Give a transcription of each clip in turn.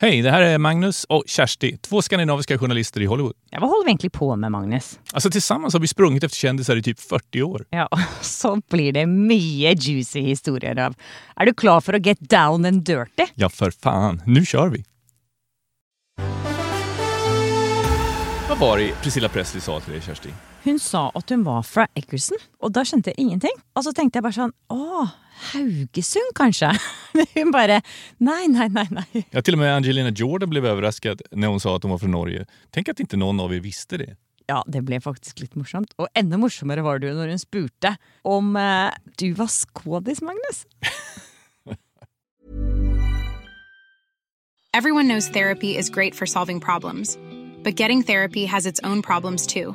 Hej, det här är Magnus och Kersti, två skandinaviska journalister i Hollywood. Ja, vad håller vi egentligen på med Magnus? Alltså tillsammans har vi sprungit efter kändisar i typ 40 år. Ja, så blir det mye juicy historier av. Er du klar for å get down and dirty? Ja, för fan. Nu kör vi! Vad var det Priscilla Presley sa till dig, Kersti? Hun sa at hun var fra Eggerson, og da skjønte jeg ingenting. Og så tenkte jeg bare sånn Å, Haugesund, kanskje? Men hun bare Nei, nei, nei, nei. Ja, till och med Angelina Jordan blev överraskad när hon sa att hon var från Norge. Tänk att inte någon av er visste det. Ja, det ble faktisk litt morsomt. Og enda morsommere var det jo når hun spurte om eh, du var skådis, Magnus. Everyone knows therapy is great for solving problems, but getting therapy has its own problems too,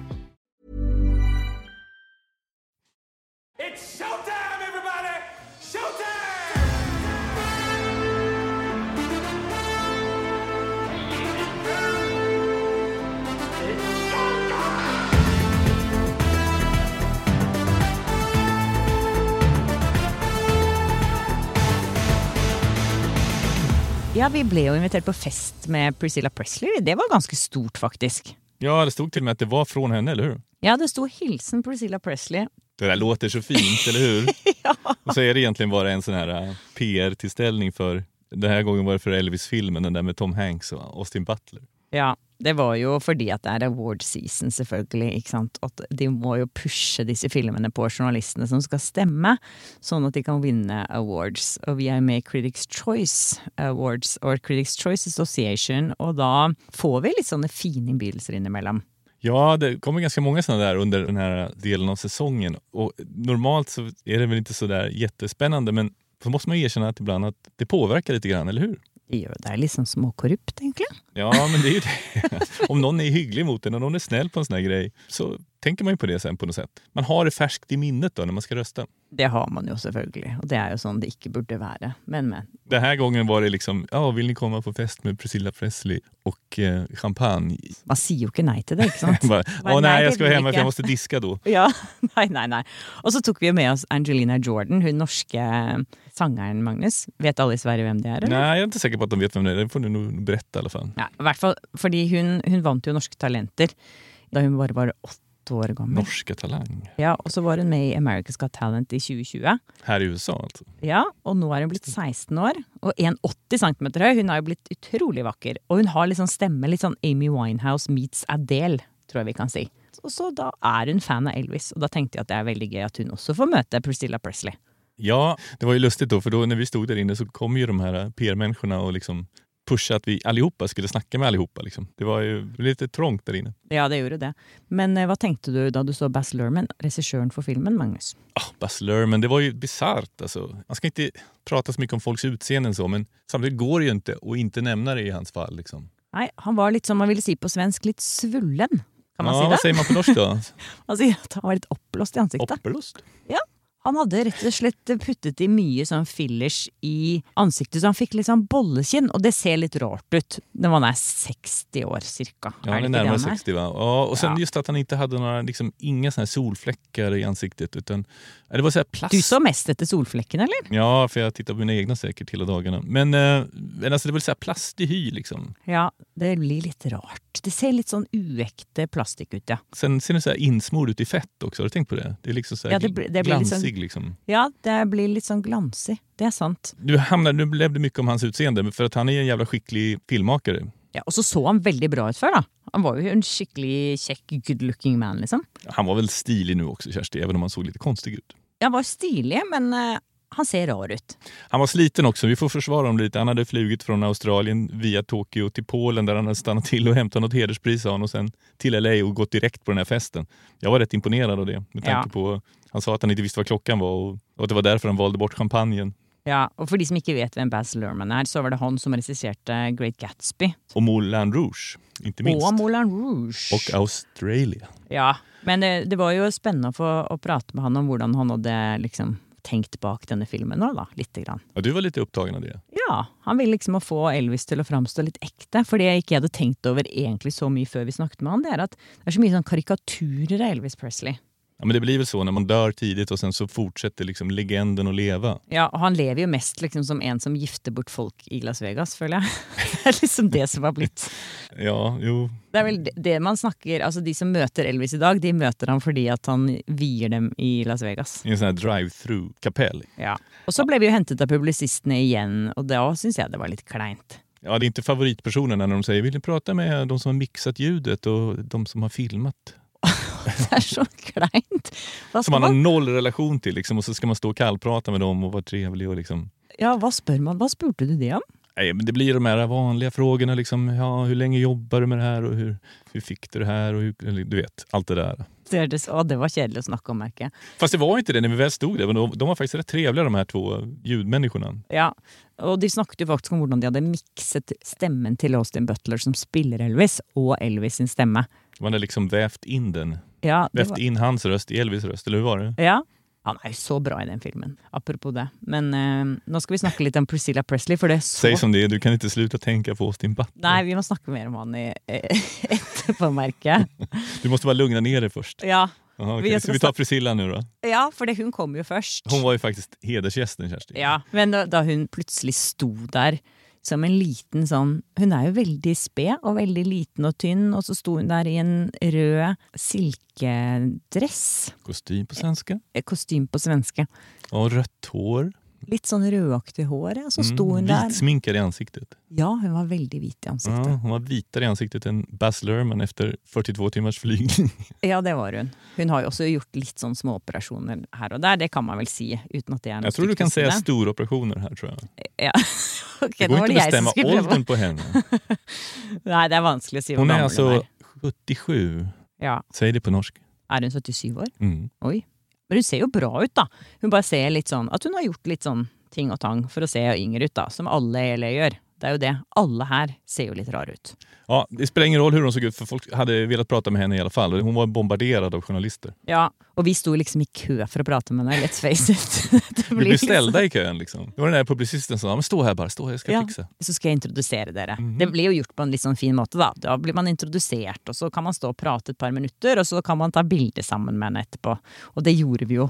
It's showtime, everybody! Showtime! Ja, vi ble jo invitert på fest med Priscilla Presley. Det var ganske stort, faktisk. Ja, det stod till och med att det var från henne, eller hur? Ja, det sto 'Hilsen Priscilla Presley'. Det där låter så fint, eller hur? Och så är det egentligen bara en sån här eh, PR-tillställning för... Den här gången var det för Elvis-filmen, den där med Tom Hanks och Austin Butler. Ja, det var jo fordi at det er award season, selvfølgelig. ikke sant? At de må jo pushe disse filmene på journalistene som skal stemme, sånn at de kan vinne awards. Og vi er med i Critics Choice Awards og Critics Choice Association, og da får vi litt sånne fine innbydelser innimellom. Ja, det kommer ganska många sådana där under den här delen av säsongen. Och normalt så är det väl inte så där jättespännande, men så måste man ju erkänna att ibland att det påverkar lite grann, eller hur? Det gjør- det er litt sånn småkorrupt, egentlig. Ja, men det är ju det. Om någon är hygglig mot en och någon är snäll på en sån här grej så tänker man ju på det sen på något sätt. Man har det färskt i minnet då när man ska rösta. Det har man jo selvfølgelig, og det er jo sånn det ikke burde være. Men, men. Den här gången var det liksom, ja, vill ni komma på fest med Priscilla Presley og eh, champagne? Man sier jo ikke nei til det, ikke sant? Bara, Bara, Åh nej, nej, jag det ska vara vill hemma jag för jag inte." måste diska då. Ja, nei, nei, nei. Og så tok vi jo med oss Angelina Jordan, hun norske eh, sangeren, Magnus. Vet alle i Sverige hvem det er? Nej, jag är inte säker på att de vet vem det är. Det får du nog berätta i alla fall. Ja, i hvert fall fordi hun, hun vant jo Norske Talenter da hun bare var åtte år gammel. Norska Talang. Ja, og så var hun med i America's Got Talent i 2020. Här i USA alltså. Ja, og nå er hun blitt 16 år og 1,80 cm høy. Hun har jo blitt utrolig vakker. Og hun har litt sånn stemme, litt sånn Amy Winehouse meets Adele, tror jeg vi kan si. Og så da er hun fan av Elvis, og da tenkte jeg at det er veldig gøy at hun også får møte Priscilla Presley. Ja, det var ju lustigt då, för då när vi stod där inne så kom ju de här PR-människorna och liksom pushade att vi allihopa skulle snacka med allihopa. Liksom. Det var ju lite trångt där inne. Ja, det gjorde det. Men eh, hva tenkte du da du så Bass Lerman, regissøren for filmen, Magnus? Oh, Buzz Lerman, det var ju bisarrt alltså. Man ska inte prata så mycket om folks utseenden så, men samtidigt går det ju inte att inte nämna det i hans fall. Liksom. Nei, han var litt som man ville si på svensk, litt svullen. Kan man ja, altså. Vad si säger det? man på norsk då? Han sier at han var litt oppblåst i ansiktet. Oppelost? Han hadde rett og slett puttet i mye sånn fillers i ansiktet, så han fikk litt sånn bollekinn, og det ser litt rart ut når man er 60 år cirka. Ja, han är ikke det närmare han er? 60 va? Ja, och sen Ja. just att han inte hade några, liksom, inga såna här solfläckar i ansiktet utan ja, det var så här plast. Du så mest etter solflekken, eller? Ja, för jag tittar på mina egna säkert hela dagarna. Men, eh, men alltså, det var så här plastig hy liksom. Ja, det blir litt rart. Det ser litt sånn uekte plastikk ut, ja. Sen ser den så här insmord ut i fett också. Har du tänkt på det? Det är liksom så här Ja, det blir- det blir liksom- glansig. Liksom... Ja, det blir litt sånn glansig. Det er sant. Du hamnar, nu blev det mycket om hans utseende, men för att han är en jävla skicklig filmmakare. Ja, og så så han veldig bra ut før, da. Han var jo en skikkelig kjekk, good looking man, liksom. Han var väl stilig nu också, Kersti, även om han såg lite konstig ut. Han var stilig, men eh, han ser rar ut. Han var sliten också, vi får försvara honom lite. Han hade flugit från Australien via Tokyo till Polen där han hade stannat till och hämtat något hederspris sa han, och sen till LA och gått direkt på den här festen. Jag var rätt imponerad av det med tanke Ja. på, han sa att han inte visste vad klockan var och, och att det var därför han valde bort champagnen. Ja, og for de som ikke vet hvem Baz Luhrmann er, så var det han som regisserte Great Gatsby. Og Moulin Rouge, ikke minst. Og Moulin Rouge. Og Australia. Ja, men eh, det, det var jo spennende å få å prate med han om hvordan han hadde liksom tenkt bak denne filmen nå, da, lite grann. Ja, du var litt opptagen av det. Ja, han ville liksom å få Elvis til å framstå litt ekte, for det jeg ikke hadde tenkt over egentlig så mye før vi snakket med han, det er at det er så mye sånn karikaturer av Elvis Presley. Ja, men det blir väl så när man dör tidigt och sen så fortsätter liksom legenden att leva. Ja, og han lever jo mest liksom som en som gifter bort folk i Las Vegas, føler jeg. Det er liksom det som har blitt. Ja, jo. Det er vel det- det man snakker Altså, de som møter Elvis i dag, de møter han fordi at han vier dem i Las Vegas. I en sån här drive-through kapell. Ja. Og så ble vi jo hentet av publisistene igjen, og da syns jeg det var litt kleint. Ja, det är inte favoritpersonerna när de säger vill du prata med de som har mixat ljudet och de som har filmat. Det er så kleint! Hva Som skal man har man, noll relation till liksom, och så ska man stå och kallprata med dem och vara trevlig och liksom... ja, hva spør man? Hva spurte du det om? Nej, men det blir de här vanliga frågorna liksom, ja, hur länge jobbar du med det här och hur, hur fick du det här och hur, eller, du vet, allt det där. Det, hørtes- å, det var kjedelig å snakke om, merker jeg. Fast det var inte det när vi väl stod där, men de, de var faktiskt rätt trevliga de här två ljudmänniskorna. Ja. Og de snakket jo faktisk om hvordan de hadde mikset stemmen til Austin Butler, som spiller Elvis, og Elvis sin stemme. Man hade liksom vävt in den. Ja, det Vävt var, in hans röst i Elvis röst, eller hur var det? ja. Han er jo så bra i den filmen. Apropos det. Men eh, nå skal vi snakke litt om Priscilla Presley, for det er så Säg som det är, du kan inte sluta tänka på Austin Butler. Nei, vi må snakke mer om han i, eh, etterpå, merker jeg. Du måste bara lugna ner dig först. Ja. Aha, Vi okay. ska Ska vi ta Priscilla nu då? ja, for det, hun kom jo først. Hon var ju faktiskt hedersgästen Kerstin. Ja, Men da, da hun plutselig sto der som en liten sånn Hun er jo veldig sped og veldig liten og tynn, og så sto hun der i en rød silkedress. Kostym på svenska. eh, Kostyme på svenske. Och rött hår. Litt sånn rødaktig hår, ja. Mm, Så sto hun der. Vitsminkad i ansiktet. Ja, hun var veldig hvit i Ja, ansiktet. hon var vitare i ansiktet än Baz Luhrmann efter 42 timmars flygning. Ja, det var hun. Hun har jo også gjort litt sånn småoperasjoner her og der, det kan man vel si. Uten at det er noe Jag tror du stygt å kan si säga det. stora operationer här tror jag. Ja. Ok, Det nå går var inte det att jeg som bestämma skulle prøve. åldern på henne. Nei, det er vanskelig å si hvor Hon är gammel hun alltså er. 77. Ja. Säg det på norsk. Er hun 77 år? Mm. Oi. Men hun ser jo bra ut, da. Hun bare ser litt sånn At hun har gjort litt sånn ting og tang for å se yngre ut, da. Som alle i LA gjør. Det er jo det. Alle her ser jo litt rare ut. Ja, det spelar ingen roll hur hon såg ut för folk hade velat prata med henne i alla fall. Hon var bombarderad av journalister. Ja. Og vi sto liksom i kø for å prate med henne, let's face it. Det Vi blev blir liksom- ställda i kön liksom. Det var den där publicisten som sa, men stå här bara, stå här, jag ska Ja, fixa. så skal jeg introdusere dere. Det blir jo gjort på en litt sånn fin måte, da. Da blir man introdusert, og så kan man stå og prate et par minutter, og så kan man ta bilde sammen med henne etterpå. Og det gjorde vi jo.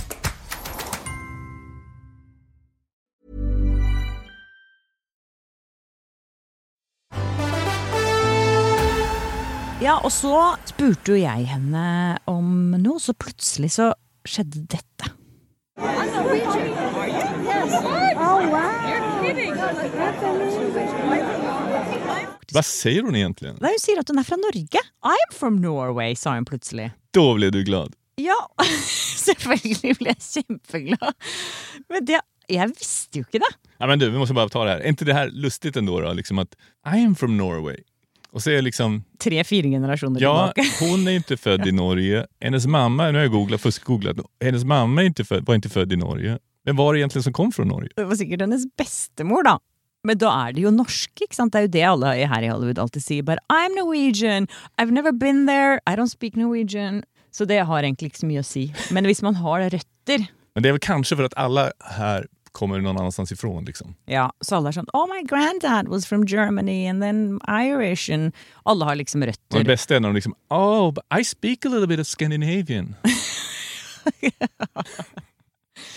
Ja, og så spurte jo jeg henne om noe, så plutselig så skjedde dette. Vad säger hon egentligen? Nei, hun sier at hun er fra Norge. I'm from Norway, sa hun plutselig. Då blev du glad. Ja, selvfølgelig ble jeg kjempeglad. Men det, jeg visste jo ikke det. Ja, men du, vi måste bara ta det här. Är inte det här lustigt ändå då? Liksom att I am from Norway. Och så är det liksom, Tre-fire generasjoner ja, tilbake. hon är inte född i Norge. Hennes mamma, nu har jag googlat, fuskgooglat, hennes mamma är inte född, var inte född i Norge. Vem var det egentligen som kom från Norge? Det var sikkert hennes bestemor, da. Men da er det jo norsk, ikke sant? Det er jo det alle her i Hollywood alltid sier. Bare I'm Norwegian, I've never been there, I don't speak Norwegian. Så det har egentlig ikke så mye å si. Men hvis man har røtter Men det är väl kanske för att alla här kommer någon annanstans ifrån. Liksom. Ja, så alle er sånn Oh, my granddad was from Germany and then Irish and Alle har liksom Och det røtter. bästa är när de liksom “Oh, but I speak a little bit of Scandinavian”.